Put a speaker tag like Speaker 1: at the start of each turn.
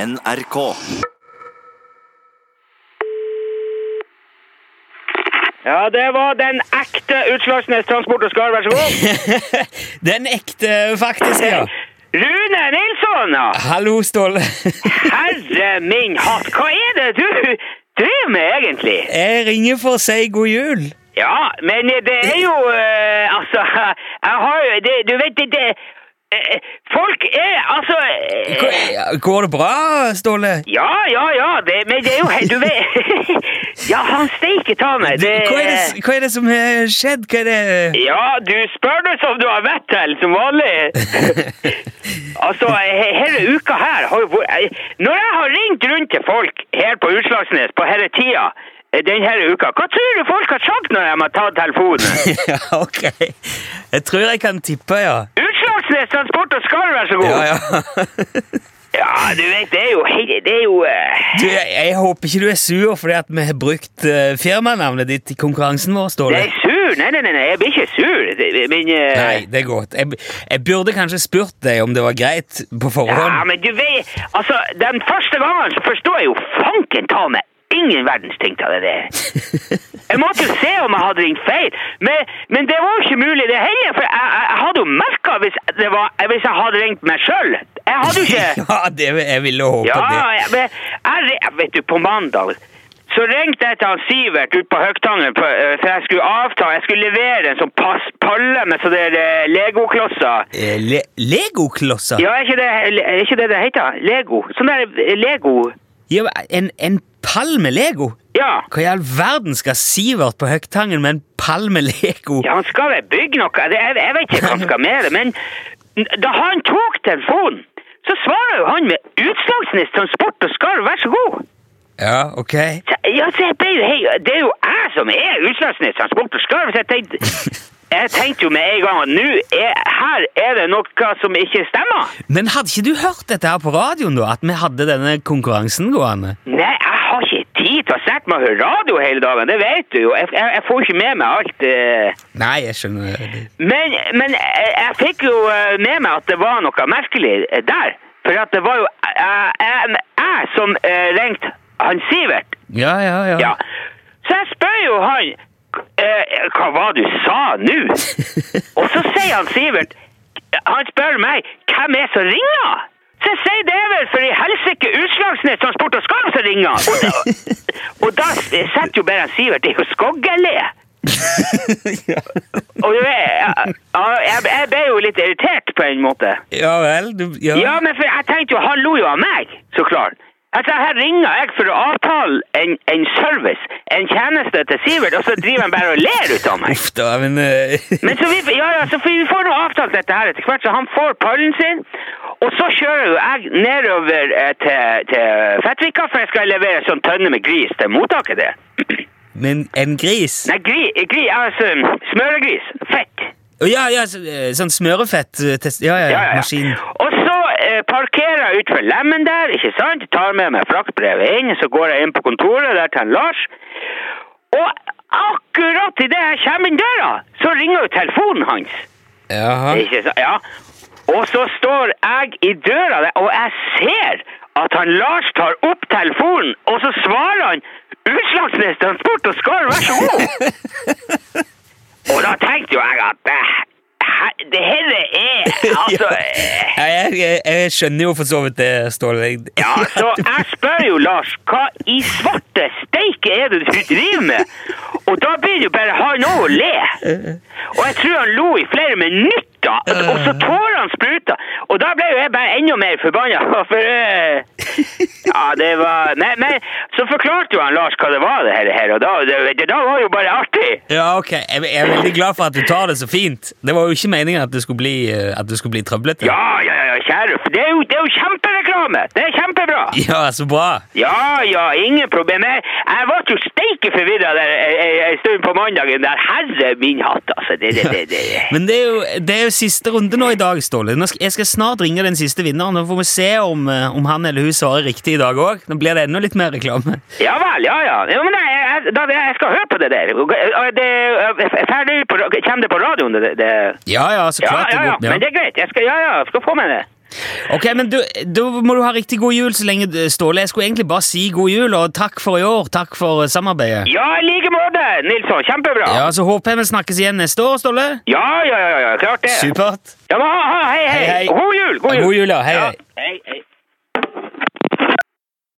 Speaker 1: NRK.
Speaker 2: Ja, det var den ekte Utslagsnes Transport og Skar, vær så god.
Speaker 3: Den ekte, faktisk, ja.
Speaker 2: Rune Nilsson, ja.
Speaker 3: Hallo, Ståle.
Speaker 2: Herre min hatt, hva er det du driver med egentlig?
Speaker 3: Jeg ringer for å si god jul.
Speaker 2: Ja, men det er jo eh, Altså, jeg har jo det, Du vet, det, det eh, Folk er altså eh,
Speaker 3: Går går det bra, Ståle?
Speaker 2: Ja, ja, ja, det, men det er jo he- Du vet Ja, han steike ta meg. Det,
Speaker 3: Hva er, det, hva er det som har skjedd? Hva er det
Speaker 2: Ja, du spør du som du har vett til, som vanlig. altså, he- hele uka her har jo vært jeg- Når jeg har ringt rundt til folk her på Utslagsnes på denne tida eh, denne uka, hva tror du folk har sagt når de har tatt telefonen?
Speaker 3: Ja, ok. Jeg tror jeg kan tippe, ja.
Speaker 2: Utslagsnes Transport og Skarv, vær så god!
Speaker 3: Ja,
Speaker 2: Ja,
Speaker 3: ja.
Speaker 2: du vet, det er jo he- Det er jo eh,
Speaker 3: Du, jeg, jeg håper ikke du er sur fordi at vi har brukt eh, firmanavnet ditt i konkurransen vår,
Speaker 2: Det
Speaker 3: Ståle.
Speaker 2: er sur. Nei, nei, nei, nei, jeg blir ikke sur. Det- Men eh,
Speaker 3: Nei, det er godt. Jeg, jeg burde kanskje spurt deg om det var greit på
Speaker 2: Ja,
Speaker 3: forhånd.
Speaker 2: men du vet Altså, den første gangen så forstår jeg jo fanken ta meg ingen verdens ting av det der. Jeg måtte jo se om jeg hadde ringt feil, men, men det var jo ikke mulig det heller, for jeg, jeg, jeg hadde jo merka hvis, det var- hvis jeg hadde ringt meg sjøl. Jeg hadde jo ikke
Speaker 3: Ja, det, jeg ville håpe
Speaker 2: Ja,
Speaker 3: det.
Speaker 2: jeg, men jeg, ri- vet du, på mandag så ringte jeg til han Sivert ut på Høgtangen, for, eh, for jeg skulle avtale, jeg skulle levere en sånn pass, palle med sånne der, eh, legoklosser.
Speaker 3: Eh, Le Legoklosser?
Speaker 2: Ja, er ikke det er ikke det, det heter? Lego? Sånn der eh, Lego
Speaker 3: Ja, men en, en pall med Lego?
Speaker 2: Ja.
Speaker 3: Hva i all verden skal Sivert på Høgtangen med en pall med Lego?
Speaker 2: ja, han skal vel bygge noe. Det, jeg, jeg vet ikke hva han skal med det, men n- da han tok telefonen, så svarer jo han med Utslagsnes Transport og Skarv, vær så god.
Speaker 3: Ja, ok.
Speaker 2: Så, ja, så jeg ble jo hei, Det er jo jeg som er Utslagsnes Transport og Skarv, så jeg tenkte jeg tenkte jo med en gang at nå er, her er det noe som ikke stemmer.
Speaker 3: Men hadde ikke du hørt dette her på radioen, da? At vi hadde denne konkurransen gående?
Speaker 2: Nei, jeg har ikke tid til å sette meg og høre radio hele dagen, det vet du jo. Jeg, jeg, jeg får ikke med meg alt. eh.
Speaker 3: Nei, jeg skjønner det.
Speaker 2: Men, men jeg, jeg fikk jo eh, med meg at det var noe merkelig eh, der. For at det var jo eh, jeg, jeg som eh, ringte han Sivert.
Speaker 3: Ja, ja, ja.
Speaker 2: Ja. Så jeg spør jo han eh, hva var det du sa nå? Og så sier han Sivert Han spør meg hvem er som ringer? Så jeg sier det er vel for i helsike Utslagsnes Transport og Skarv som ringer! Og da, og da setter jo bare han Sivert i å skoggele. Og du vet, jeg, jeg, jeg- jeg ble jo litt irritert på en måte.
Speaker 3: Ja vel, du Ja.
Speaker 2: Ja, men for jeg tenkte jo, han lo jo av meg, så klart. Altså, her ringer jeg for å avtale en, en service, en tjeneste til Sivert, og så driver han bare og ler ut av meg.
Speaker 3: Uff da, men eh,
Speaker 2: Men så vi, ja, ja, så vi får nå avtalt dette her etter hvert, så han får pallen sin, og så kjører jo jeg nedover eh, til, til Fettvika, for jeg skal levere sånn tønne med gris til mottaket der.
Speaker 3: Men en gris?
Speaker 2: Nei, gri, gri, altså, smøregris, fett.
Speaker 3: Å, Ja, ja, så, eh, sånn smørefett eh, test... Ja, ja, ja. Maskin.
Speaker 2: Og så eh, parkerer jeg utenfor Lemmen der, ikke sant? Tar med meg fraktbrevet inn, så går jeg inn på kontoret der til han Lars. Og akkurat idet jeg kommer inn døra, så ringer jo telefonen hans.
Speaker 3: Jaha.
Speaker 2: Ikke sant? Ja. Og så står jeg i døra, der, og jeg ser at han Lars tar opp telefonen, og så svarer han Utslagsnes Transport og Skarv, vær så god! og da tenkte jo jeg at det, he- det her er altså eh,
Speaker 3: Ja, jeg, jeg, jeg skjønner jo for så vidt det, Ståle.
Speaker 2: Ja, så jeg spør jo Lars, hva i svarte steike er det du driver med? Og da begynner jo bare han òg å le. Og jeg tror han lo i flere minutter, og, og så tårene spruta. Og da ble jo jeg bare enda mer forbanna, for eh, Ja, det var men, men så forklarte jo han Lars hva det var, det her, det her og da, det, det da var jo bare artig.
Speaker 3: Ja, ok. Jeg, jeg er veldig glad for at du tar det så fint. Det var jo ikke meningen at det skulle bli, eh, at det skulle bli trøblete.
Speaker 2: Ja, ja, ja, kjære, for det er jo, det er jo kjempereklame! Det er kjempebra!
Speaker 3: Ja, så bra.
Speaker 2: Ja, ja, ingen problem. Jeg, jeg ble jo steike forvirra der en- en en stund på mandagen. der. Herre min hatt, altså. Det, det, det, det.
Speaker 3: Men det er, jo, det er jo siste runde nå i dag, Ståle. Nå skal, jeg skal snart ringe den siste vinneren. Nå får vi se om, eh, om han eller hun svarer riktig i dag òg. Nå blir det enda litt mer reklame.
Speaker 2: Ja vel, ja ja. Jo, men jeg, jeg, da, jeg skal høre på det der. Og Det, er ferdig på, ra- kommer det på radioen? Det, det.
Speaker 3: Ja, ja, så
Speaker 2: Ja,
Speaker 3: klart.
Speaker 2: ja, ja.
Speaker 3: det går-
Speaker 2: Men det er greit. Jeg skal, ja, ja, jeg skal få med det.
Speaker 3: Ok, men du, Da må du ha riktig god jul så lenge du- Ståle. Jeg skulle egentlig bare si god jul og takk for i år. Takk for samarbeidet.
Speaker 2: Ja, i like måte, Nilsson. Kjempebra.
Speaker 3: Ja, Så håper jeg vi snakkes igjen neste år, Ståle.
Speaker 2: Ja, ja, ja, ja, klart det.
Speaker 3: Supert.
Speaker 2: Ja, men, ha, ha, hei, hei.
Speaker 3: Hei, hei.
Speaker 2: God jul! God jul,
Speaker 3: God jul, ja. Hei, hei.